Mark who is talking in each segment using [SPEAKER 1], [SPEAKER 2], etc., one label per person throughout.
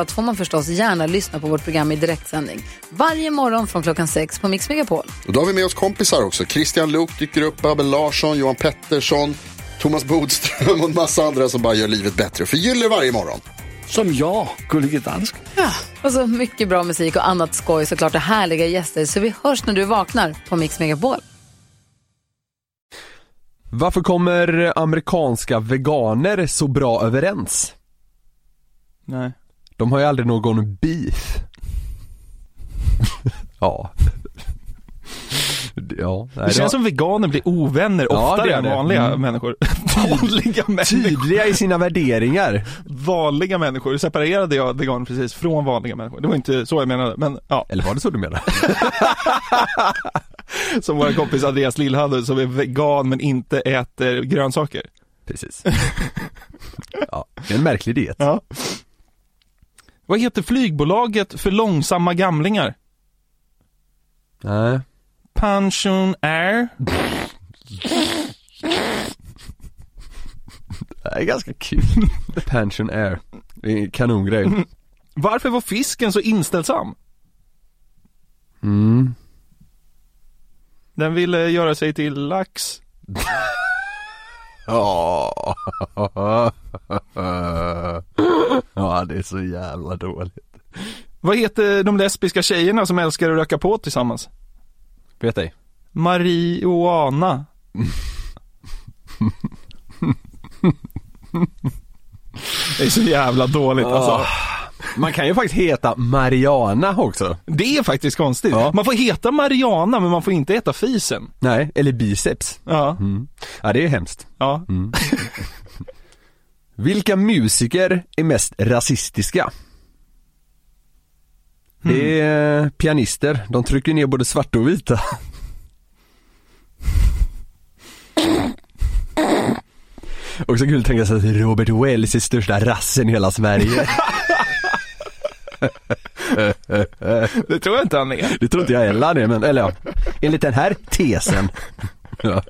[SPEAKER 1] allt får man förstås gärna lyssna på vårt program i direktsändning. Varje morgon från klockan sex på Mix Megapol.
[SPEAKER 2] Och då har vi med oss kompisar också. Christian Luuk dyker upp, Abel Larsson, Johan Pettersson, Thomas Bodström och en massa andra som bara gör livet bättre för gillar varje morgon.
[SPEAKER 3] Som jag, Gullige Dansken.
[SPEAKER 1] Och så mycket bra musik och annat skoj såklart och härliga gäster. Så vi hörs när du vaknar på Mix Megapol.
[SPEAKER 4] Varför kommer amerikanska veganer så bra överens?
[SPEAKER 5] Nej.
[SPEAKER 4] De har ju aldrig någon beef. ja. ja. nej,
[SPEAKER 5] Det känns som veganer blir ovänner
[SPEAKER 4] Ja,
[SPEAKER 5] oftare
[SPEAKER 4] det gör
[SPEAKER 5] än
[SPEAKER 4] det.
[SPEAKER 5] vanliga
[SPEAKER 4] Mm.
[SPEAKER 5] människor. Vanliga människor.
[SPEAKER 4] Tydliga i sina värderingar.
[SPEAKER 5] Vanliga människor. Då Separerade jag veganer precis från vanliga människor. Det var inte så jag menade, men ja.
[SPEAKER 4] Eller var det så du menade?
[SPEAKER 5] Som vår kompis Andreas Lillhand som är vegan men inte äter grönsaker.
[SPEAKER 4] Precis. Ja, det är en märklig diet.
[SPEAKER 5] Ja. Vad heter flygbolaget för långsamma gamlingar?
[SPEAKER 4] Nej.
[SPEAKER 5] Pension Air?
[SPEAKER 4] Det är ganska kul. Mm. The Pension Air. Det är en kanongrej.
[SPEAKER 5] Varför var fisken så inställsam?
[SPEAKER 4] Mm.
[SPEAKER 5] Den ville göra sig till lax.
[SPEAKER 4] Ja, ja det är så jävla dåligt.
[SPEAKER 5] Vad heter de lesbiska tjejerna som älskar att röka på tillsammans?
[SPEAKER 4] Vet dig.
[SPEAKER 5] Marijuana. Det är så jävla dåligt alltså.
[SPEAKER 4] Man kan ju faktiskt heta Mariana också.
[SPEAKER 5] Det är faktiskt konstigt.
[SPEAKER 4] Ja.
[SPEAKER 5] Man får heta Mariana men man får inte heta fisen.
[SPEAKER 4] Nej, eller biceps.
[SPEAKER 5] Ja,
[SPEAKER 4] Mm. Ja, det är hemskt.
[SPEAKER 5] ja.
[SPEAKER 4] Vilka musiker är mest rasistiska? Det är eh, pianister. De trycker ner både svarta och vita. Också kul att tänka sig att Robert Wells är största rassen i hela Sverige.
[SPEAKER 5] det tror jag inte han är.
[SPEAKER 4] Det tror inte jag heller det, men eller ja. Enligt den här tesen. Ja,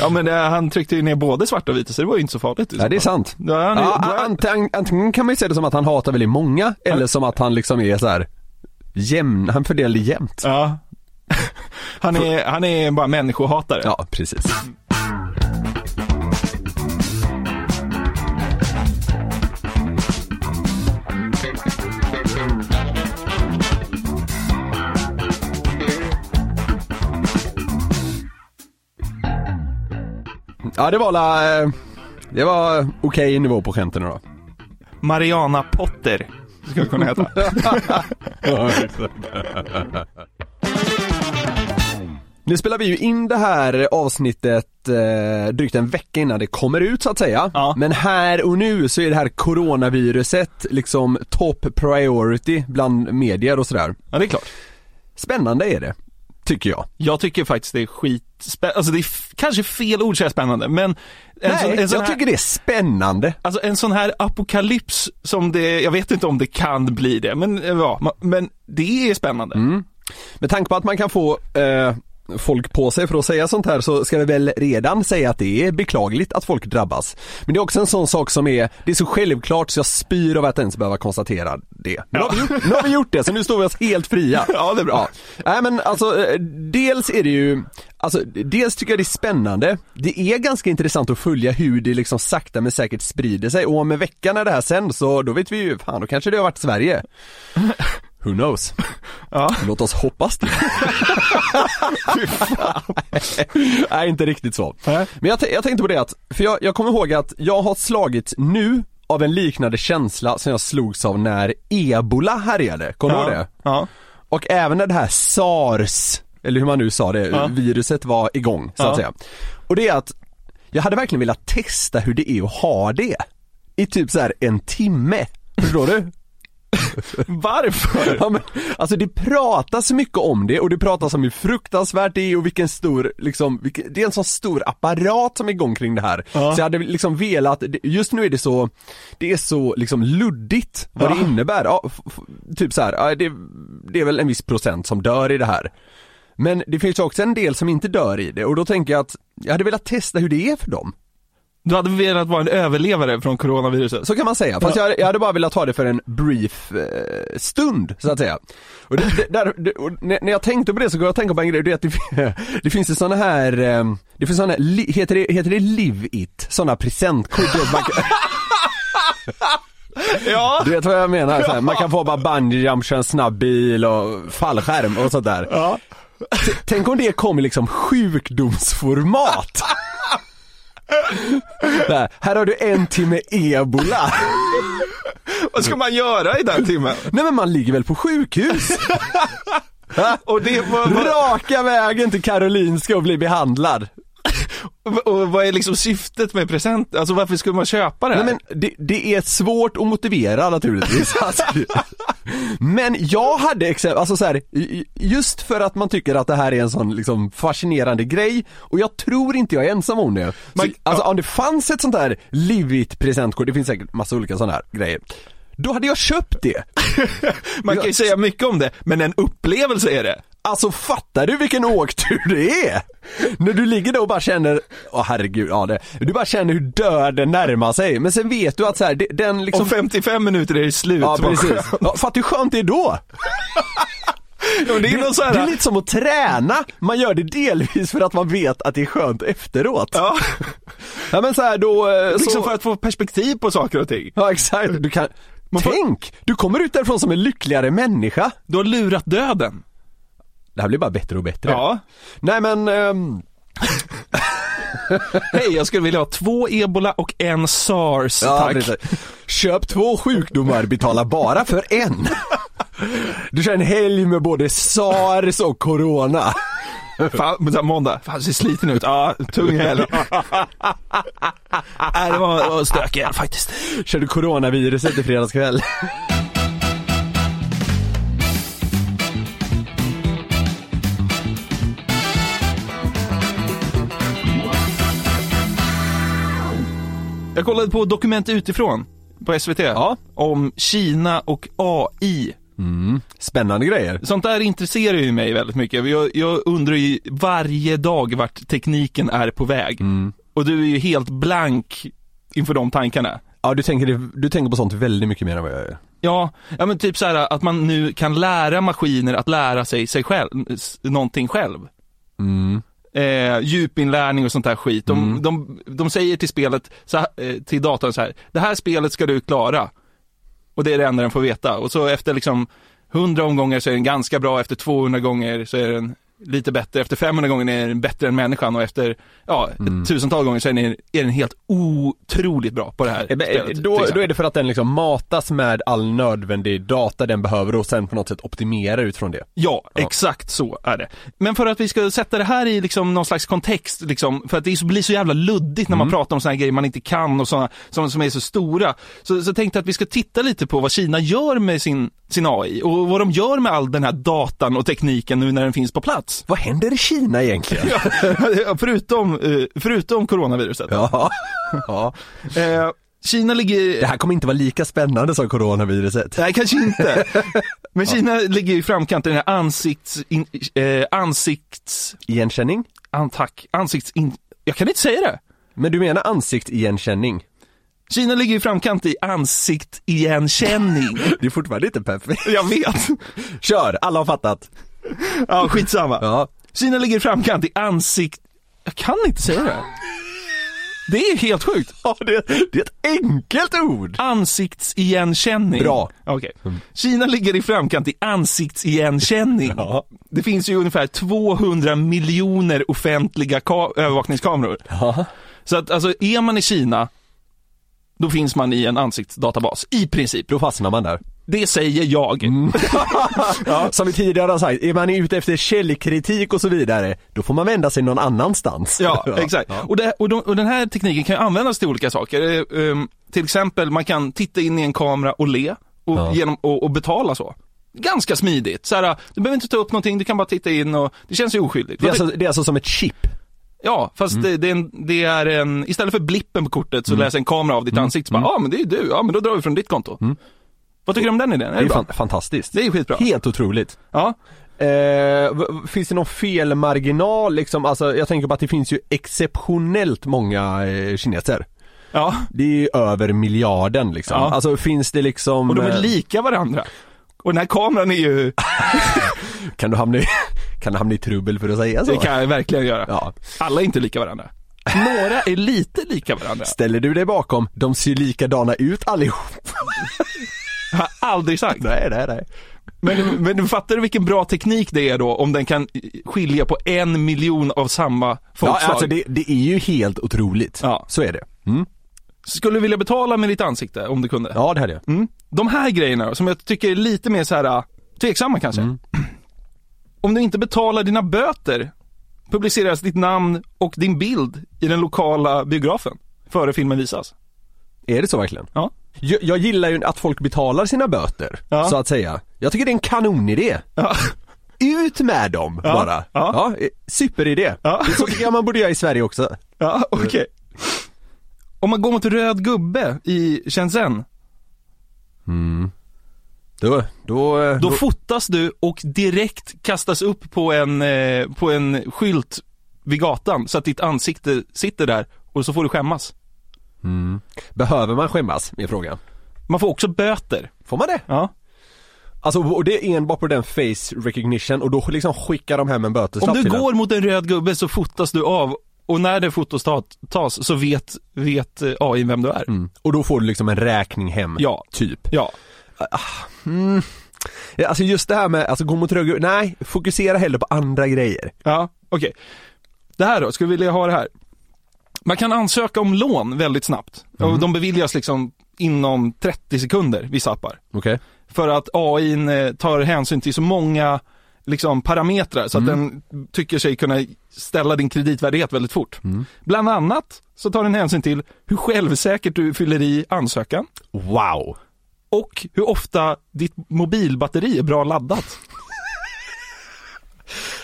[SPEAKER 5] Ja men eh, han tryckte ju ner både svarta och vita så det var ju inte så farligt. i så
[SPEAKER 4] ja det är
[SPEAKER 5] fall.
[SPEAKER 4] sant.
[SPEAKER 5] Då är han,
[SPEAKER 4] Ja,
[SPEAKER 5] då är han,
[SPEAKER 4] antingen, antingen kan man ju säga det som att han hatar väldigt många, eller som att han liksom är så här jämn, han fördelar det jämnt.
[SPEAKER 5] ja. han, är, han är bara människohatare.
[SPEAKER 4] Ja, precis. Ja, det var alla, eh, det var okej nivå på skämten då.
[SPEAKER 5] Mariana Potter. Skulle det kunna heta.
[SPEAKER 4] Nu spelar vi ju in det här avsnittet eh, drygt en vecka innan det kommer ut så att säga.
[SPEAKER 5] Ja.
[SPEAKER 4] Men här och nu så är det här coronaviruset liksom top priority bland medier och sådär.
[SPEAKER 5] Ja det är klart.
[SPEAKER 4] Spännande är det, tycker jag.
[SPEAKER 5] Jag tycker faktiskt det är skitspännande, alltså det är f- kanske fel ord säga spännande men en
[SPEAKER 4] Nej,
[SPEAKER 5] sån, en sån
[SPEAKER 4] jag
[SPEAKER 5] här,
[SPEAKER 4] tycker det är spännande.
[SPEAKER 5] Alltså en sån här apokalyps som det, jag vet inte om det kan bli det men eh, ja, ma- men det är spännande.
[SPEAKER 4] Mm, Med tanke på att man kan få eh, folk på sig för att säga sånt här så ska vi väl redan säga att det är beklagligt att folk drabbas. Men det är också en sån sak som är, det är så självklart så jag spyr av att ens behöva konstatera det. Men nu, har vi gjort, nu har vi gjort det så nu står vi oss helt fria.
[SPEAKER 5] Ja, det är bra.
[SPEAKER 4] Nej men alltså, eh, dels är det ju, alltså dels tycker jag det är spännande. Det är ganska intressant att följa hur det liksom sakta men säkert sprider sig och om en vecka när det här sänds så då vet vi ju, fan då kanske det har varit Sverige. Who knows?
[SPEAKER 5] Ja.
[SPEAKER 4] Låt oss hoppas det. Nej, inte riktigt så.
[SPEAKER 5] Nej.
[SPEAKER 4] Men jag, t- jag tänkte på det att, för jag, jag kommer ihåg att jag har slagits nu av en liknande känsla som jag slogs av när ebola härjade, kommer du ihåg det?
[SPEAKER 5] Ja.
[SPEAKER 4] Och även när det här sars, eller hur man nu sa det,
[SPEAKER 5] Ja.
[SPEAKER 4] viruset var igång så
[SPEAKER 5] Ja.
[SPEAKER 4] att säga. Och det är att jag hade verkligen velat testa hur det är att ha det i typ så här en timme. Förstår du?
[SPEAKER 5] Varför?
[SPEAKER 4] Ja, men, alltså det pratas så mycket om det och det pratas om hur fruktansvärt det är och vilken stor, liksom, vilken, det är en sån stor apparat som är igång kring det här. Så jag hade liksom velat, det- just nu är det så, det är så liksom luddigt vad det innebär. Ja, f- f- typ så här, ja, det, det är väl en viss procent som dör i det här. Men det finns ju också en del som inte dör i det och då tänker jag att jag hade velat testa hur det är för dem.
[SPEAKER 5] Du hade velat vara en överlevare från coronaviruset.
[SPEAKER 4] Så kan man säga, fast jag, jag hade bara velat ha det för en brief eh, stund så att säga. Och det, det, där, det, och när när jag tänkte på det så går jag att tänka på en grej, det är att det, det finns ju sådana här, eh, det finns sådana, här li- heter det, heter det live it? Sådana presentkort, du vet, man, kan-
[SPEAKER 5] Ja,
[SPEAKER 4] du vet vad jag menar? Så här, man kan få bara bungee jump, köra en snabb bil och fallskärm och sånt där.
[SPEAKER 5] Ja.
[SPEAKER 4] T- Tänk om det kom i liksom sjukdomsformat. Där, här har du en timme ebola.
[SPEAKER 5] vad ska man göra i den timmen?
[SPEAKER 4] Nej men man ligger väl på sjukhus?
[SPEAKER 5] Och, det, vad, vad,
[SPEAKER 4] Raka vägen till Karolinska och bli behandlad.
[SPEAKER 5] och vad är liksom syftet med present? Alltså varför skulle man köpa det här?
[SPEAKER 4] Nej men det, det är svårt att motivera naturligtvis. Alltså, men jag hade exempel, alltså så här, i- i- just för att man tycker att det här är en sån liksom fascinerande grej och jag tror inte jag är ensam om det. Så,
[SPEAKER 5] Man-
[SPEAKER 4] alltså om det fanns ett sånt här livigt presentkort, det finns säkert massa olika sådana här grejer. Då hade jag köpt det.
[SPEAKER 5] man kan ju
[SPEAKER 4] Ja.
[SPEAKER 5] säga mycket om det, men en upplevelse är det.
[SPEAKER 4] Alltså fattar du vilken åktur det är? När du ligger där och bara känner, åh herregud, ja det, du bara känner hur döden närmar sig. Men sen vet du att så här, det, den liksom
[SPEAKER 5] Om 55 minuter är det slut.
[SPEAKER 4] Ja
[SPEAKER 5] Vad
[SPEAKER 4] precis.
[SPEAKER 5] skönt.
[SPEAKER 4] Ja, fattar du hur skönt det är då?
[SPEAKER 5] Ja, men det är någon så
[SPEAKER 4] Det är
[SPEAKER 5] här,
[SPEAKER 4] lite som att träna, man gör det delvis för att man vet att det är skönt efteråt.
[SPEAKER 5] ja,
[SPEAKER 4] Ja men så här då, eh, så...
[SPEAKER 5] liksom för att få perspektiv på saker och ting.
[SPEAKER 4] Ja exakt, du kan,
[SPEAKER 5] får-
[SPEAKER 4] tänk! Du kommer ut därifrån som en lyckligare människa.
[SPEAKER 5] Du har lurat döden.
[SPEAKER 4] Det här blir bara bättre och bättre.
[SPEAKER 5] Ja.
[SPEAKER 4] Nej men, ehm,
[SPEAKER 5] Hej, jag skulle vilja ha två ebola och en sars,
[SPEAKER 4] Ja,
[SPEAKER 5] tack.
[SPEAKER 4] precis. Köp två sjukdomar, betala bara för en. Du kör en helg med både sars och corona.
[SPEAKER 5] Fan, men så här måndag, fan ser sliten ut, ja, tung helg.
[SPEAKER 4] Äh,
[SPEAKER 5] Nej, det var, det var en stökig helg faktiskt.
[SPEAKER 4] Körde coronaviruset i fredagskväll.
[SPEAKER 5] Jag kollade på Dokument utifrån på SVT om Kina och AI.
[SPEAKER 4] Spännande grejer.
[SPEAKER 5] Sånt där intresserar ju mig väldigt mycket. Jag, jag undrar ju varje dag vart tekniken är på väg. Och du är ju helt blank inför de tankarna.
[SPEAKER 4] Ja, du tänker, du tänker på sånt väldigt mycket mer än vad jag gör.
[SPEAKER 5] Ja, ja men typ så här att man nu kan lära maskiner att lära sig, sig själv, s- någonting själv. Eh, djupinlärning och sånt där skit. De, de, de säger till spelet, så här, eh, till datorn så här, det här spelet ska du klara. Och det är det enda den får veta. Och så efter liksom 100 omgångar så är den ganska bra, efter 200 gånger så är den lite bättre, efter 500 gånger är den bättre än människan och efter ja, mm. tusentals gånger så är den, är den helt otroligt bra på det här spelet. till
[SPEAKER 4] Eh, Då,
[SPEAKER 5] exempel.
[SPEAKER 4] då är det för att den liksom matas med all nödvändig data den behöver och sen på något sätt optimera utifrån det.
[SPEAKER 5] Ja,
[SPEAKER 4] Ja.
[SPEAKER 5] exakt så är det. Men för att vi ska sätta det här i liksom någon slags kontext, liksom, för att det blir så jävla luddigt
[SPEAKER 4] Mm.
[SPEAKER 5] när man pratar om sådana grejer man inte kan och sådana som, som är så stora, så, så tänkte jag att vi ska titta lite på vad Kina gör med sin, sin AI och vad de gör med all den här datan och tekniken nu när den finns på plats.
[SPEAKER 4] Vad händer i Kina egentligen?
[SPEAKER 5] Ja, förutom, eh, förutom coronaviruset.
[SPEAKER 4] Ja. ja.
[SPEAKER 5] Eh, Kina ligger...
[SPEAKER 4] Det här kommer inte vara lika spännande som coronaviruset.
[SPEAKER 5] Nej, kanske inte. Men Kina ligger ju i framkant i den här ansikts... In, eh, ansikts...
[SPEAKER 4] Igenkänning?
[SPEAKER 5] An- tack. Ansiktsin... Jag kan inte säga det.
[SPEAKER 4] Men du menar ansiktsigenkänning?
[SPEAKER 5] Kina ligger i framkant i ansiktsigenkänning.
[SPEAKER 4] Det är fortfarande inte perfekt.
[SPEAKER 5] Jag vet.
[SPEAKER 4] Kör, alla har fattat.
[SPEAKER 5] Ja, skitsamma.
[SPEAKER 4] Ja.
[SPEAKER 5] Kina ligger i framkant i ansikt... Jag kan inte säga det. Det är helt sjukt.
[SPEAKER 4] Ja, det, det är ett enkelt ord.
[SPEAKER 5] Ansiktsigenkänning.
[SPEAKER 4] Bra.
[SPEAKER 5] Okej. Kina ligger i framkant i ansiktsigenkänning.
[SPEAKER 4] Ja.
[SPEAKER 5] Det finns ju ungefär 200 miljoner offentliga ka- övervakningskameror.
[SPEAKER 4] Ja.
[SPEAKER 5] Så att alltså, är man i Kina, då finns man i en ansiktsdatabas. I princip.
[SPEAKER 4] Då fastnar man där.
[SPEAKER 5] Det säger jag.
[SPEAKER 4] Mm. Som vi tidigare har sagt, är man ute efter källkritik och så vidare, då får man vända sig någon annanstans.
[SPEAKER 5] Ja, exakt. Och, det, och, de, och den här tekniken kan ju användas till olika saker. Eh, ehm, till exempel, man kan titta in i en kamera och le och,
[SPEAKER 4] Ja.
[SPEAKER 5] genom, och, och betala så. Ganska smidigt. Så här, eh, du behöver inte ta upp någonting, du kan bara titta in och det känns ju oskyldigt.
[SPEAKER 4] Det är, alltså, Mm. det är alltså som ett chip.
[SPEAKER 5] Ja, fast det, det, är en, det är en, istället för blippen på kortet
[SPEAKER 4] Mm.
[SPEAKER 5] så läser en kamera av ditt ansikte. så Bara, ja, men det är ju du. Ja, men då drar vi från ditt konto. Vad tycker du om den idén?
[SPEAKER 4] Mm.
[SPEAKER 5] Är
[SPEAKER 4] Det är
[SPEAKER 5] det bra?
[SPEAKER 4] fan, fantastiskt.
[SPEAKER 5] Det är skitbra.
[SPEAKER 4] Helt otroligt.
[SPEAKER 5] Ja.
[SPEAKER 4] Eh, v- v- finns det någon felmarginal liksom? Alltså jag tänker på att det finns ju exceptionellt många eh, kineser.
[SPEAKER 5] ja,
[SPEAKER 4] Det är ju över miljarden liksom.
[SPEAKER 5] Ja.
[SPEAKER 4] Alltså finns det liksom...
[SPEAKER 5] och de är
[SPEAKER 4] eh,
[SPEAKER 5] lika varandra. Och den här kameran är ju,
[SPEAKER 4] kan, du hamna i, kan du hamna i trubbel för att säga så?
[SPEAKER 5] det kan jag verkligen göra.
[SPEAKER 4] Ja.
[SPEAKER 5] Alla är inte lika varandra. Några är lite lika varandra.
[SPEAKER 4] Ställer du dig bakom, de ser ju likadana ut allihop.
[SPEAKER 5] Jag har aldrig sagt.
[SPEAKER 4] nej, nej, nej.
[SPEAKER 5] Men, men du fattar du vilken bra teknik det är då om den kan skilja på en miljon av samma
[SPEAKER 4] Ja,
[SPEAKER 5] folkslag?
[SPEAKER 4] alltså det, det är ju helt otroligt.
[SPEAKER 5] Ja.
[SPEAKER 4] Så är det. Mm.
[SPEAKER 5] Skulle du vilja betala med ditt ansikte om du kunde?
[SPEAKER 4] Ja, det hade jag.
[SPEAKER 5] Mm. De här grejerna som jag tycker är lite mer så här äh, tveksamma kanske.
[SPEAKER 4] Mm.
[SPEAKER 5] Om du inte betalar dina böter publiceras ditt namn och din bild i den lokala biografen före filmen visas.
[SPEAKER 4] Är det så verkligen?
[SPEAKER 5] Ja.
[SPEAKER 4] Jag, jag gillar ju att folk betalar sina böter,
[SPEAKER 5] Ja.
[SPEAKER 4] så att säga. Jag tycker det är en kanonidé.
[SPEAKER 5] Ja.
[SPEAKER 4] Ut med dem bara.
[SPEAKER 5] Ja.
[SPEAKER 4] eh, superidé.
[SPEAKER 5] Ja.
[SPEAKER 4] Det är Så tycker jag man borde göra i Sverige också.
[SPEAKER 5] Ja, okej. Om man går mot röd gubbe i Shenzhen,
[SPEAKER 4] Då, då, eh,
[SPEAKER 5] då fotas du och direkt kastas upp på en, eh, på en skylt vid gatan så att ditt ansikte sitter där och så får du skämmas.
[SPEAKER 4] behöver man skämmas, är frågan.
[SPEAKER 5] Man får också böter.
[SPEAKER 4] Får man det?
[SPEAKER 5] Ja.
[SPEAKER 4] Alltså, och det är enbart på den face recognition och då liksom skickar de hem en böteslapp
[SPEAKER 5] Om du
[SPEAKER 4] till en.
[SPEAKER 5] går mot en röd gubbe så fotas du av och när det fotos ta- tas så vet, vet eh, AI vem du är.
[SPEAKER 4] Mm. Och då får du liksom en räkning hem,
[SPEAKER 5] Ja. Mm.
[SPEAKER 4] typ.
[SPEAKER 5] Ja,
[SPEAKER 4] Ja, Alltså just det här med, alltså gå mot rödgubbe, nej, fokusera hellre på andra grejer.
[SPEAKER 5] ja, okej. Det här då, skulle vi vilja ha det här. Man kan ansöka om lån väldigt snabbt och de beviljas liksom inom 30 sekunder, vissa appar.
[SPEAKER 4] Okej.
[SPEAKER 5] För att AI n, eh, tar hänsyn till så många liksom, parametrar så att den tycker sig kunna ställa din kreditvärdighet väldigt fort. Bland annat så tar den hänsyn till hur självsäkert du fyller i ansökan.
[SPEAKER 4] Wow.
[SPEAKER 5] och hur ofta ditt mobilbatteri är bra laddat.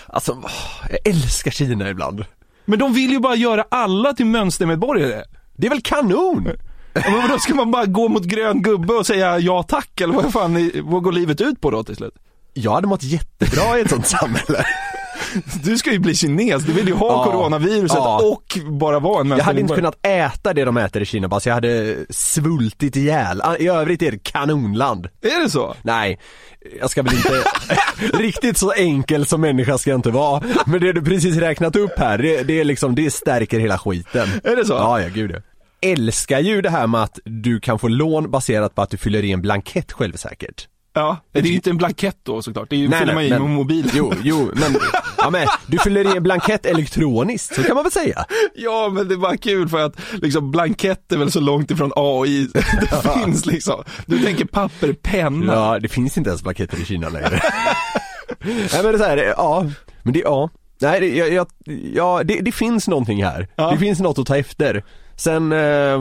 [SPEAKER 4] Alltså, åh, jag älskar Kina ibland.
[SPEAKER 5] Men de vill ju bara göra alla till mönstermedborgare.
[SPEAKER 4] Det är väl kanon?
[SPEAKER 5] Ja, Men då ska man bara gå mot grön gubbe och säga ja tack eller vad fan, vad går livet ut på då till slut?
[SPEAKER 4] Jag hade mått jättebra i ett sånt samhälle.
[SPEAKER 5] Du ska ju bli kines, du vill ju ha
[SPEAKER 4] Ja.
[SPEAKER 5] coronaviruset
[SPEAKER 4] Ja.
[SPEAKER 5] och bara vara en
[SPEAKER 4] Jag hade inte
[SPEAKER 5] mönstermedborgare.
[SPEAKER 4] kunnat äta det de äter i Kina bara, så jag hade svultit ihjäl. Ah, I övrigt är det kanonland.
[SPEAKER 5] Är det så?
[SPEAKER 4] Nej, jag ska väl inte, riktigt så enkel som människa ska jag inte vara. Men det du precis räknat upp här, det, det är liksom, det stärker hela skiten.
[SPEAKER 5] Är det så?
[SPEAKER 4] Ja, ja gud ja. Älskar ju det här med att du kan få lån baserat på att du fyller i en blankett självsäkert.
[SPEAKER 5] Ja, det är ju inte en blankett då såklart, det är ju fyller man i med
[SPEAKER 4] men-
[SPEAKER 5] mobilen.
[SPEAKER 4] Jo, jo, men, ja, men du fyller i en blankett elektroniskt, så kan man väl säga.
[SPEAKER 5] Ja, men det är bara kul för att liksom blankett är väl så långt ifrån AI det finns liksom. Du tänker papper, penna.
[SPEAKER 4] Ja, det finns inte ens blanketter i Kina längre. Nej men det är så här, ja, men det, ja. Nej, det, jag, jag, ja, det, det finns någonting här.
[SPEAKER 5] Ja.
[SPEAKER 4] Det finns något att ta efter. Sen, eh,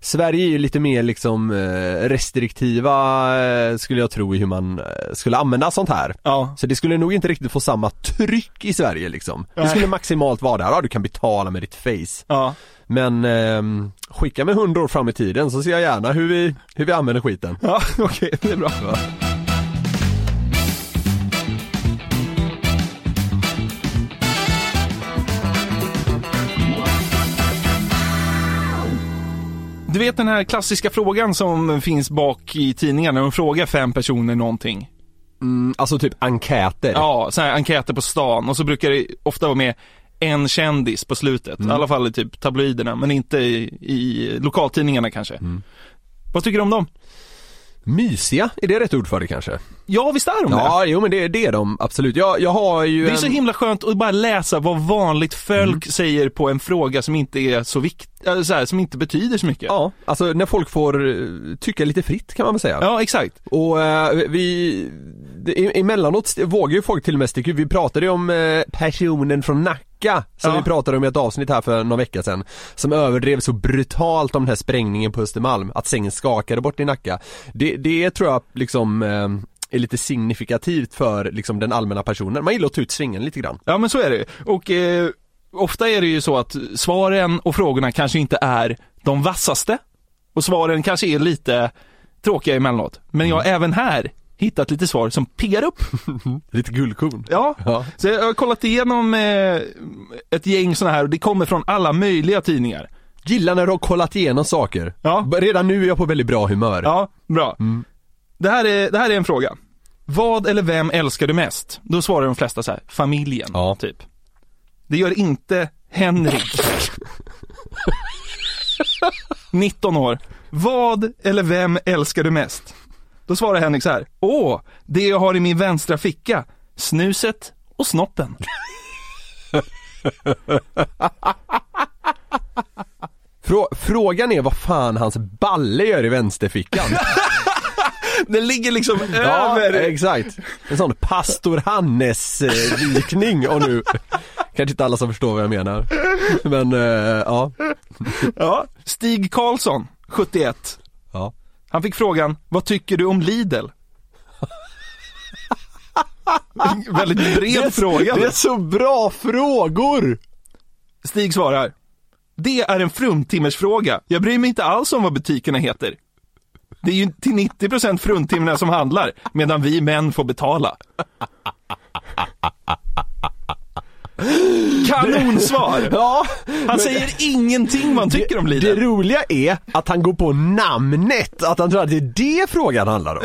[SPEAKER 4] Sverige är ju lite mer liksom eh, restriktiva eh, skulle jag tro i hur man eh, skulle använda sånt här.
[SPEAKER 5] ja.
[SPEAKER 4] Så det skulle nog inte riktigt få samma tryck i Sverige liksom. Det
[SPEAKER 5] Nej.
[SPEAKER 4] skulle maximalt vara där, ja du kan betala med ditt face.
[SPEAKER 5] ja.
[SPEAKER 4] Men ehm, skicka mig hundra år fram i tiden så ser jag gärna hur vi, hur vi använder skiten.
[SPEAKER 5] Ja, okej, det är bra. Du vet den här klassiska frågan som finns bak i tidningarna, de frågar fem personer någonting.
[SPEAKER 4] Alltså typ enkäter.
[SPEAKER 5] Ja, så här enkäter på stan och så brukar det ofta vara med en kändis på slutet. I alla fall i typ tabloiderna, men inte i, i lokaltidningarna kanske. Vad tycker du om dem?
[SPEAKER 4] Mysiga, är det rätt ord för det kanske?
[SPEAKER 5] Ja, visst är de det?
[SPEAKER 4] Ja, jo men det, det är de absolut. Jag, jag har ju
[SPEAKER 5] Det är
[SPEAKER 4] en...
[SPEAKER 5] så himla skönt att bara läsa vad vanligt folk säger på en fråga som inte är så viktig, äh, så här, som inte betyder så mycket.
[SPEAKER 4] Ja, alltså när folk får eh, tycka lite fritt kan man väl säga.
[SPEAKER 5] Ja, exakt.
[SPEAKER 4] Och eh, vi, det, e- emellanåt st- vågar ju folk till och med sticka ut. Vi pratade ju om eh, personen från Nacka Alaska som
[SPEAKER 5] Ja.
[SPEAKER 4] vi pratade om i ett avsnitt här för någon vecka sedan. Som överdrev så brutalt om den här sprängningen på Östermalm, att sängen skakade bort i Nacka. Det, det tror jag liksom eh, är lite signifikativt för liksom den allmänna personen. Man gillar att ta ut svingen lite grann.
[SPEAKER 5] Ja men så är det ju. Och eh, ofta är det ju så att svaren och frågorna kanske inte är de vassaste. Och svaren kanske är lite tråkiga emellanåt. Men jag har även här hittat lite svar som piggar upp.
[SPEAKER 4] Lite guldkorn.
[SPEAKER 5] Ja.
[SPEAKER 4] Ja.
[SPEAKER 5] Så jag har kollat igenom eh, ett gäng sådana här och det kommer från alla möjliga tidningar.
[SPEAKER 4] Gillar när du har kollat igenom saker.
[SPEAKER 5] Ja.
[SPEAKER 4] B- Redan nu är jag på väldigt bra humör.
[SPEAKER 5] Ja, bra.
[SPEAKER 4] Mm.
[SPEAKER 5] Det, här är, det här är en fråga. Vad eller vem älskar du mest? Då svarar de flesta så här, familjen,
[SPEAKER 4] Ja.
[SPEAKER 5] typ. Det gör inte Henrik. 19 år. Vad eller vem älskar du mest? Då svarar Henrik så här, åh, det jag har i min vänstra ficka, snuset och snoppen.
[SPEAKER 4] Frå- frågan är vad fan hans balle gör i vänsterfickan.
[SPEAKER 5] Den ligger liksom
[SPEAKER 4] Ja,
[SPEAKER 5] över.
[SPEAKER 4] exakt. En sån pastor Hannes-vikning och nu Kanske inte alla som förstår vad jag menar. Men eh, ja.
[SPEAKER 5] Ja. Stig Karlsson, 71.
[SPEAKER 4] ja.
[SPEAKER 5] Han fick frågan, vad tycker du om Lidl? En Väldigt bred fråga.
[SPEAKER 4] Det är så bra frågor!
[SPEAKER 5] Stig svarar, det är en fruntimmersfråga. Jag bryr mig inte alls om vad butikerna heter. Det är ju till 90% fruntimmerna som handlar, medan vi män får betala. Kanonsvar!
[SPEAKER 4] Ja,
[SPEAKER 5] Han säger ingenting man tycker om
[SPEAKER 4] det
[SPEAKER 5] Lidl.
[SPEAKER 4] roliga är att han går på namnet, att han tror att det är det frågan handlar om.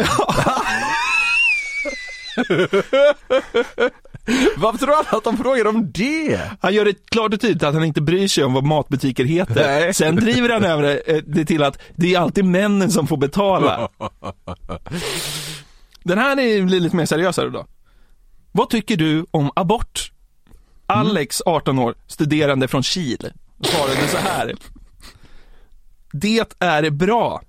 [SPEAKER 4] Varför tror han att de frågar om det?
[SPEAKER 5] Han gör det klart och tydligt att han inte bryr sig om vad matbutiker heter.
[SPEAKER 4] Nej.
[SPEAKER 5] Sen driver han över det, eh, det till att det är alltid männen som får betala. Den här är blir lite mer seriösare då. Vad tycker du om abort? Alex, 18 år, studerande från Kil, svarade så här. Det är bra.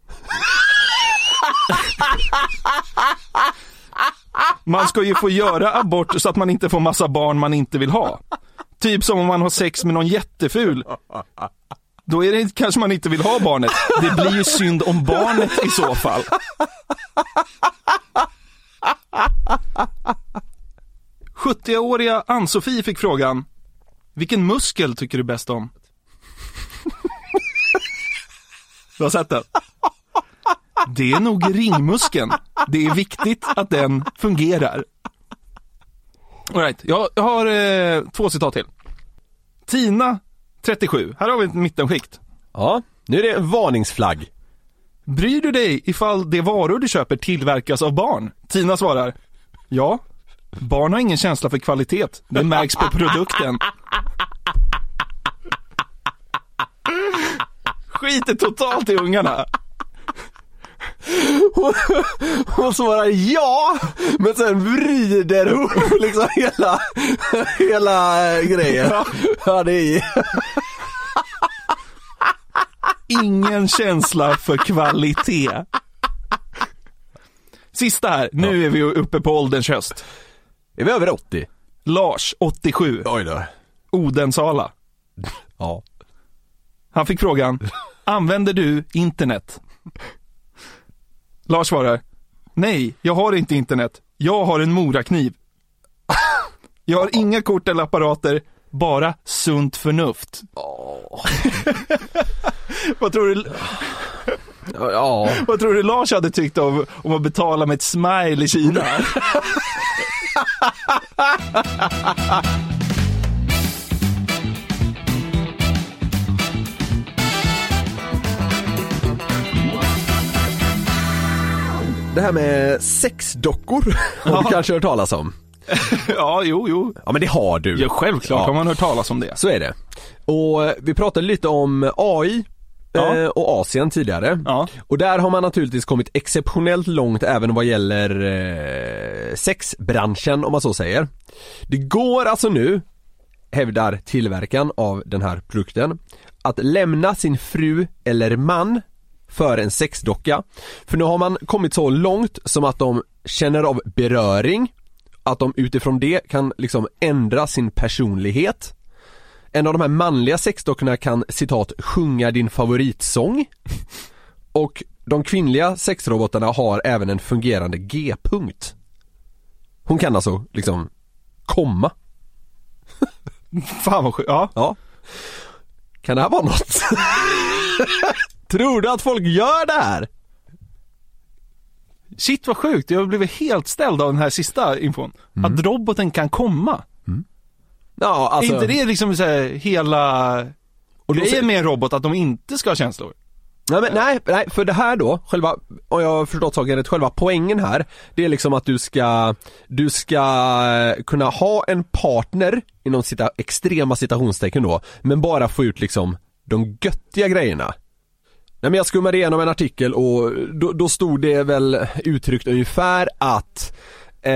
[SPEAKER 5] Man ska ju få göra abort så att man inte får massa barn man inte vill ha. Typ som om man har sex med någon jätteful. Då är det kanske man inte vill ha barnet. Det blir ju synd om barnet i så fall. åriga Ann-Sofie fick frågan, vilken muskel tycker du bäst om? Du har sett den? Det är nog ringmuskeln. Det är viktigt att den fungerar. All right, jag, jag har eh, två citat till. Tina, 37. Här har vi ett mittenskikt.
[SPEAKER 4] Ja, nu är det en varningsflagg.
[SPEAKER 5] Bryr du dig ifall de varor du köper tillverkas av barn? Tina svarar. Ja. Barn har ingen känsla för kvalitet. Det märks på produkten. Skiter totalt i ungarna.
[SPEAKER 4] Hon svarar ja, men sen vrider hon liksom hela, hela eh, grejen. Ja, det är
[SPEAKER 5] Ingen känsla för kvalitet. Sista här. Nu är vi ju uppe på ålderns höst.
[SPEAKER 4] Är vi över 80?
[SPEAKER 5] Lars, 87.
[SPEAKER 4] Oj då.
[SPEAKER 5] Odensala.
[SPEAKER 4] Ja.
[SPEAKER 5] Han fick frågan, använder du internet? Lars svarar, nej, jag har inte internet. Jag har en morakniv. Jag har inga kort eller apparater, bara sunt förnuft. vad, tror du,
[SPEAKER 4] Ja.
[SPEAKER 5] vad tror du Lars hade tyckt om, om att betala med ett smile i Kina?
[SPEAKER 4] Det här med sexdockor har du kanske hört talas om?
[SPEAKER 5] ja, jo, jo.
[SPEAKER 4] Ja, men det har du.
[SPEAKER 5] Ja, självklart
[SPEAKER 4] Ja.
[SPEAKER 5] har man hört talas om det.
[SPEAKER 4] Så är det. Och eh, vi pratade lite om AI
[SPEAKER 5] Ja.
[SPEAKER 4] eh, och Asien tidigare.
[SPEAKER 5] Ja.
[SPEAKER 4] Och där har man naturligtvis kommit exceptionellt långt även vad gäller eh, sexbranschen om man så säger. Det går alltså nu, hävdar tillverkaren av den här produkten, att lämna sin fru eller man för en sexdocka. För nu har man kommit så långt som att de känner av beröring, att de utifrån det kan liksom ändra sin personlighet. En av de här manliga sexdockorna kan citat sjunga din favoritsång. Och de kvinnliga sexrobotarna har även en fungerande G-punkt. Hon kan alltså liksom komma.
[SPEAKER 5] Fan vad sjukt. Ja.
[SPEAKER 4] Ja. Kan det här vara något? Tror du att folk gör det här?
[SPEAKER 5] Shit vad sjukt, jag blev helt ställd av den här sista infon. Att roboten kan komma.
[SPEAKER 4] Ja, Mm. alltså.
[SPEAKER 5] Är inte det liksom så här, hela
[SPEAKER 4] Och då
[SPEAKER 5] grejen
[SPEAKER 4] säger-
[SPEAKER 5] med en robot, att de inte ska ha känslor?
[SPEAKER 4] Nej, men, nej, nej, för det här då, själva, om jag har förstått saken rätt, själva poängen här, det är liksom att du ska, du ska eh, kunna ha en partner, inom cita, extrema citationstecken då, men bara få ut liksom de göttiga grejerna. Nej men jag skummade igenom en artikel och då, då stod det väl uttryckt ungefär att eh,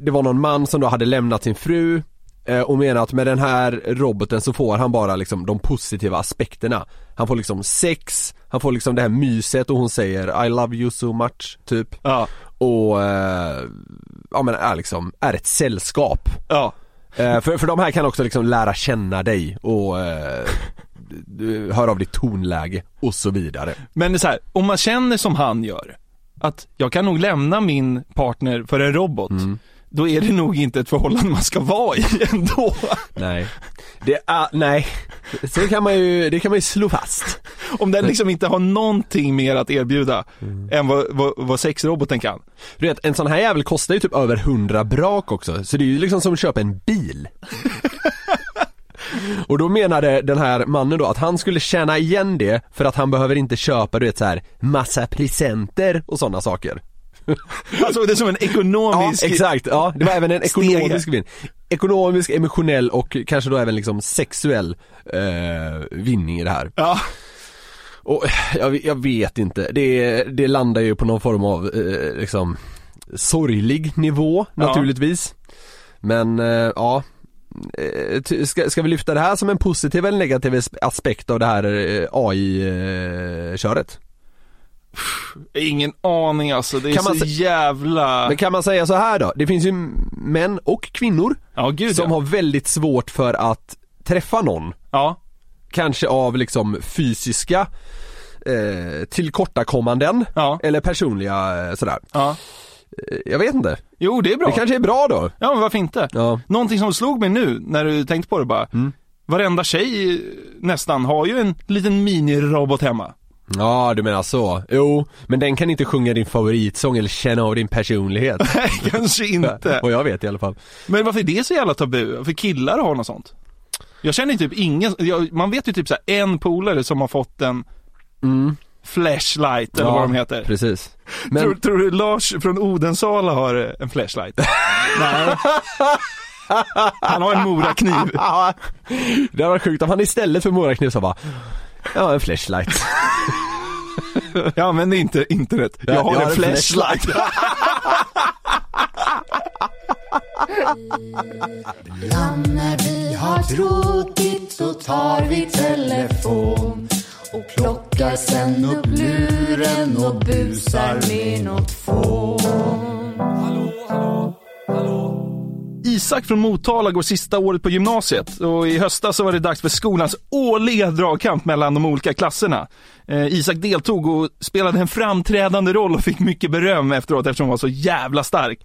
[SPEAKER 4] det var någon man som då hade lämnat sin fru eh, och menade att med den här roboten så får han bara liksom de positiva aspekterna. Han får liksom sex, han får liksom det här myset och hon säger I love you so much, typ.
[SPEAKER 5] Ja.
[SPEAKER 4] Och, eh, ja men är liksom, är ett sällskap.
[SPEAKER 5] Ja.
[SPEAKER 4] Eh, för, för de här kan också liksom lära känna dig och eh, du- höra av ditt tonläge och så vidare.
[SPEAKER 5] Men det är så här, om man känner som han gör, att jag kan nog lämna min partner för en robot,
[SPEAKER 4] Mm.
[SPEAKER 5] då är det nog inte ett förhållande man ska vara i ändå.
[SPEAKER 4] Nej. Det är, nej. Så kan man ju, det kan man ju slå fast.
[SPEAKER 5] Om den liksom inte har någonting mer att erbjuda
[SPEAKER 4] Mm.
[SPEAKER 5] än vad, vad, vad sexroboten kan.
[SPEAKER 4] Du vet, en sån här jävel kostar ju typ över 100 brak också, så det är ju liksom som att köpa en bil. Och då menade den här mannen då att han skulle tjäna igen det för att han behöver inte köpa du vet så här massa presenter och sådana saker.
[SPEAKER 5] Alltså det är som en
[SPEAKER 4] Ja,
[SPEAKER 5] ekonomisk...
[SPEAKER 4] exakt. Ja, det var även en
[SPEAKER 5] Stege.
[SPEAKER 4] ekonomisk vinst. Ekonomisk, emotionell och kanske då även liksom sexuell eh, vinning i det här.
[SPEAKER 5] Ja.
[SPEAKER 4] Och eh, jag, jag vet inte, det, det landar ju på någon form av eh, liksom sorglig nivå naturligtvis. Men eh, ja, Eh, ty- ska, ska vi lyfta det här som en positiv eller negativ as- aspekt av det här eh, AI-köret?
[SPEAKER 5] Ingen aning alltså, det är
[SPEAKER 4] Kan man
[SPEAKER 5] så
[SPEAKER 4] sä-
[SPEAKER 5] jävla...
[SPEAKER 4] Men kan man säga så här då? Det finns ju män och kvinnor
[SPEAKER 5] Ja, gud
[SPEAKER 4] som
[SPEAKER 5] ja.
[SPEAKER 4] har väldigt svårt för att träffa någon.
[SPEAKER 5] ja.
[SPEAKER 4] Kanske av liksom fysiska eh, tillkortakommanden
[SPEAKER 5] Ja.
[SPEAKER 4] eller personliga eh, sådär.
[SPEAKER 5] Ja.
[SPEAKER 4] Eh, Jag vet inte.
[SPEAKER 5] Jo, det är bra.
[SPEAKER 4] Det kanske är bra då.
[SPEAKER 5] Ja, men varför inte?
[SPEAKER 4] Ja. Mm.
[SPEAKER 5] Någonting som slog mig nu när du tänkte på det bara. Varenda tjej eh, nästan har ju en liten minirobot hemma.
[SPEAKER 4] Ja, du menar så. Jo, men den kan inte sjunga din favoritsång eller känna av din personlighet.
[SPEAKER 5] Nej, kanske inte.
[SPEAKER 4] Vad jag vet i alla fall.
[SPEAKER 5] Men varför är det så jävla tabu? För killar har något sånt. Jag känner ju typ ingen, jag, man vet ju typ så här, en polare som har fått en Mm. flashlight eller
[SPEAKER 4] ja,
[SPEAKER 5] vad de heter.
[SPEAKER 4] Precis. Men,
[SPEAKER 5] Tror, tror du Lars från Odensala har eh, en flashlight? Nej. Han har en morakniv.
[SPEAKER 4] ah, det var sjukt om han istället för morakniv sa bara Ja, en flashlight.
[SPEAKER 5] Jag använder inte internet, jag, har en flashlight.
[SPEAKER 6] När vi har tråkigt så tar vi telefon och plockar sen upp luren och busar med något fån.
[SPEAKER 5] Isak från Motala går sista året på gymnasiet och i höstas så var det dags för skolans årliga dragkamp mellan de olika klasserna. Eh, Isak deltog och spelade en framträdande roll och fick mycket beröm efteråt eftersom han var så jävla stark.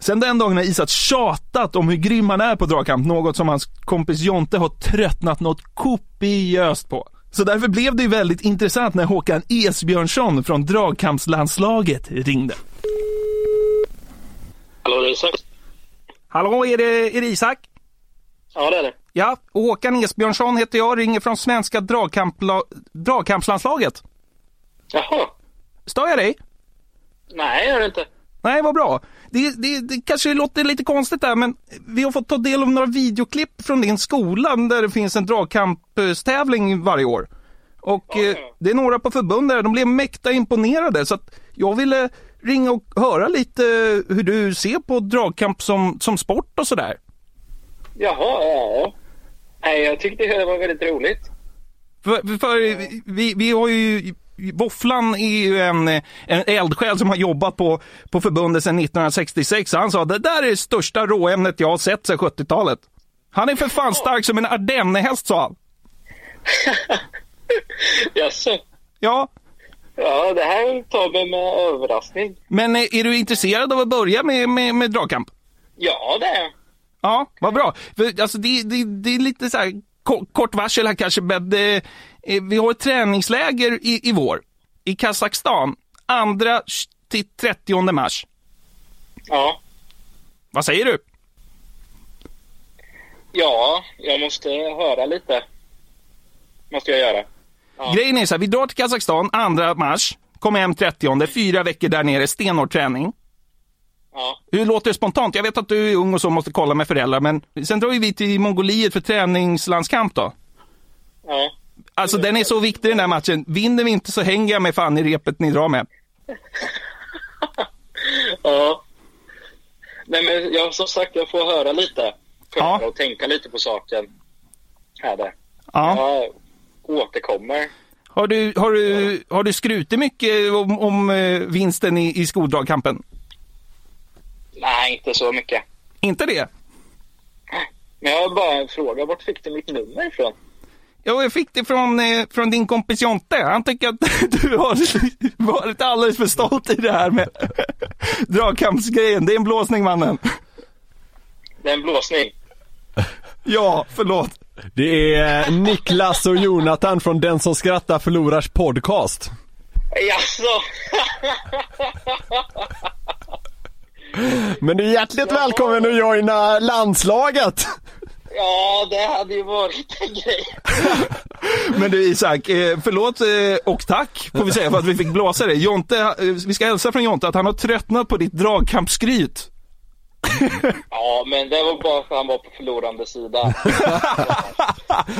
[SPEAKER 5] Sen den dagen har Isak tjatat om hur grym han är på dragkamp, något som hans kompis Jonte har tröttnat något kopiöst på. Så därför blev det ju väldigt intressant när Håkan Esbjörnsson från dragkampslandslaget ringde.
[SPEAKER 7] Hallå, det är Isak.
[SPEAKER 5] Hallå, är det, är det Isak?
[SPEAKER 7] Ja, det är det.
[SPEAKER 5] Ja, Håkan Esbjörnsson heter jag, ringer från svenska dragkampla- dragkampslandslaget.
[SPEAKER 7] Jaha.
[SPEAKER 5] Stör jag dig?
[SPEAKER 7] Nej, gör det inte.
[SPEAKER 5] Nej, vad bra. Det, det, det kanske låter lite konstigt där, men vi har fått ta del av några videoklipp från din skola där det finns en dragkampstävling varje år. Och eh, det är några på förbundet där, de blev mäkta imponerade så att jag ville ringa och höra lite hur du ser på dragkamp som, som sport och sådär.
[SPEAKER 7] Jaha, ja. Nej, jag tyckte det var väldigt roligt.
[SPEAKER 5] För, för vi, vi har ju Våfflan är ju en, en eldsjäl som har jobbat på, på förbundet sedan 1966. Han sa det där är det största råämnet jag har sett sedan 70-talet. Han är för fan stark som en ardennehäst sa han.
[SPEAKER 7] Jaså?
[SPEAKER 5] Ja,
[SPEAKER 7] Ja, det här tar mig med överraskning.
[SPEAKER 5] men eh, är du intresserad av att börja med, med, med dragkamp?
[SPEAKER 7] Ja, det är
[SPEAKER 5] Ja, vad bra. För, alltså, det, det, det är lite så här ko- kort varsel här kanske, men eh, eh, vi har ett träningsläger i, i vår i Kazakstan, 2 till 30 mars.
[SPEAKER 7] Ja.
[SPEAKER 5] Vad säger du?
[SPEAKER 7] Ja, jag måste höra lite. Måste jag göra.
[SPEAKER 5] Grejen är så här, vi drar till Kazakstan 2 mars, kommer hem 30, fyra veckor där nere, stenhård träning.
[SPEAKER 7] Ja.
[SPEAKER 5] Hur låter det spontant? Jag vet att du är ung och så måste kolla med föräldrar, men sen drar ju vi till Mongoliet för träningslandskamp då.
[SPEAKER 7] Ja.
[SPEAKER 5] Alltså den är så viktig den där matchen. Vinner vi inte så hänger jag med fan i repet ni drar med.
[SPEAKER 7] Ja. Nej, men jag, som sagt, jag får höra lite.
[SPEAKER 5] Ja.
[SPEAKER 7] Ja. Och tänka lite på saken. Här det.
[SPEAKER 5] Ja.
[SPEAKER 7] Jag återkommer.
[SPEAKER 5] Har, du, har, du, har du skrutit mycket om, om eh, vinsten i, i skoldragkampen?
[SPEAKER 7] Nej, inte så mycket.
[SPEAKER 5] Inte det?
[SPEAKER 7] Men jag har bara en fråga. Vart fick du mitt nummer ifrån?
[SPEAKER 5] Jo, jag fick det från, eh, från din kompis Jonte. Han tycker att du har varit alldeles för stolt i det här med dragkampsgrejen. Det är en blåsning mannen.
[SPEAKER 7] Det är en blåsning.
[SPEAKER 5] Ja, förlåt.
[SPEAKER 4] Det är eh, Niklas och Jonathan från Den som skrattar förlorars podcast.
[SPEAKER 7] Jaså?
[SPEAKER 4] Men du är hjärtligt välkommen att joina landslaget!
[SPEAKER 7] Ja, det hade ju varit en grej.
[SPEAKER 5] Men du Isak, eh, förlåt eh, och tack får vi säga för att vi fick blåsa det. Jonte, eh, vi ska hälsa från Jonte att han har tröttnat på ditt dragkampsskryt.
[SPEAKER 7] Ja, men det var bara för att han var på förlorande sida.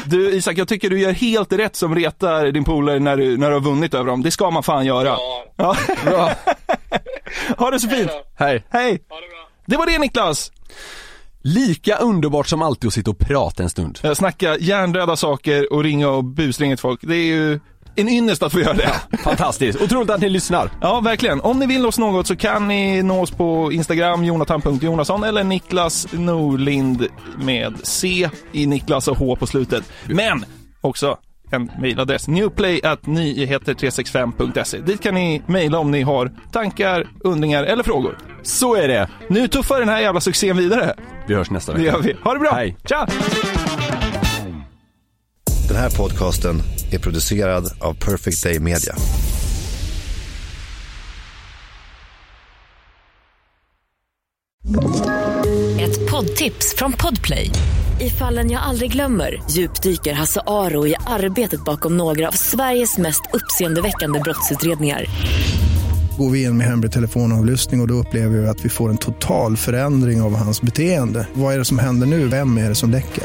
[SPEAKER 5] Du Isak, jag tycker du gör helt rätt som retar din polare när du, när du har vunnit över dem. Det ska man fan göra.
[SPEAKER 7] Ja,
[SPEAKER 5] Ja. Bra. ha det så fint.
[SPEAKER 4] Hej.
[SPEAKER 5] Hej.
[SPEAKER 7] ha det bra.
[SPEAKER 5] Det var det Niklas.
[SPEAKER 4] Lika underbart som alltid att sitta och prata en stund.
[SPEAKER 5] Eh, Snacka hjärndöda saker och ringa och busringa till folk. Det är ju en ynnest att få göra det.
[SPEAKER 4] Fantastiskt. Otroligt att ni lyssnar.
[SPEAKER 5] Ja, verkligen. Om ni vill oss något så kan ni nå oss på Instagram, jonathan.jonasson eller Niklas Norlind med C i Niklas och H på slutet. Men också en mejladress, newplay.nyheter365.se. Dit kan ni mejla om ni har tankar, undringar eller frågor.
[SPEAKER 4] Så är det.
[SPEAKER 5] Nu tuffar den här jävla succén vidare.
[SPEAKER 4] Vi hörs nästa
[SPEAKER 5] Det
[SPEAKER 4] vecka.
[SPEAKER 5] gör vi. Ha det bra.
[SPEAKER 4] Hej.
[SPEAKER 5] Tja!
[SPEAKER 8] Den här podcasten är producerad av Perfect Day Media.
[SPEAKER 9] Ett poddtips från Podplay. I fallen jag aldrig glömmer djupdyker Hasse Aro i arbetet bakom några av Sveriges mest uppseendeväckande brottsutredningar.
[SPEAKER 10] Går vi in med hemlig telefonavlyssning och, och då upplever vi att vi får en total förändring av hans beteende. Vad är det som händer nu? Vem är det som läcker?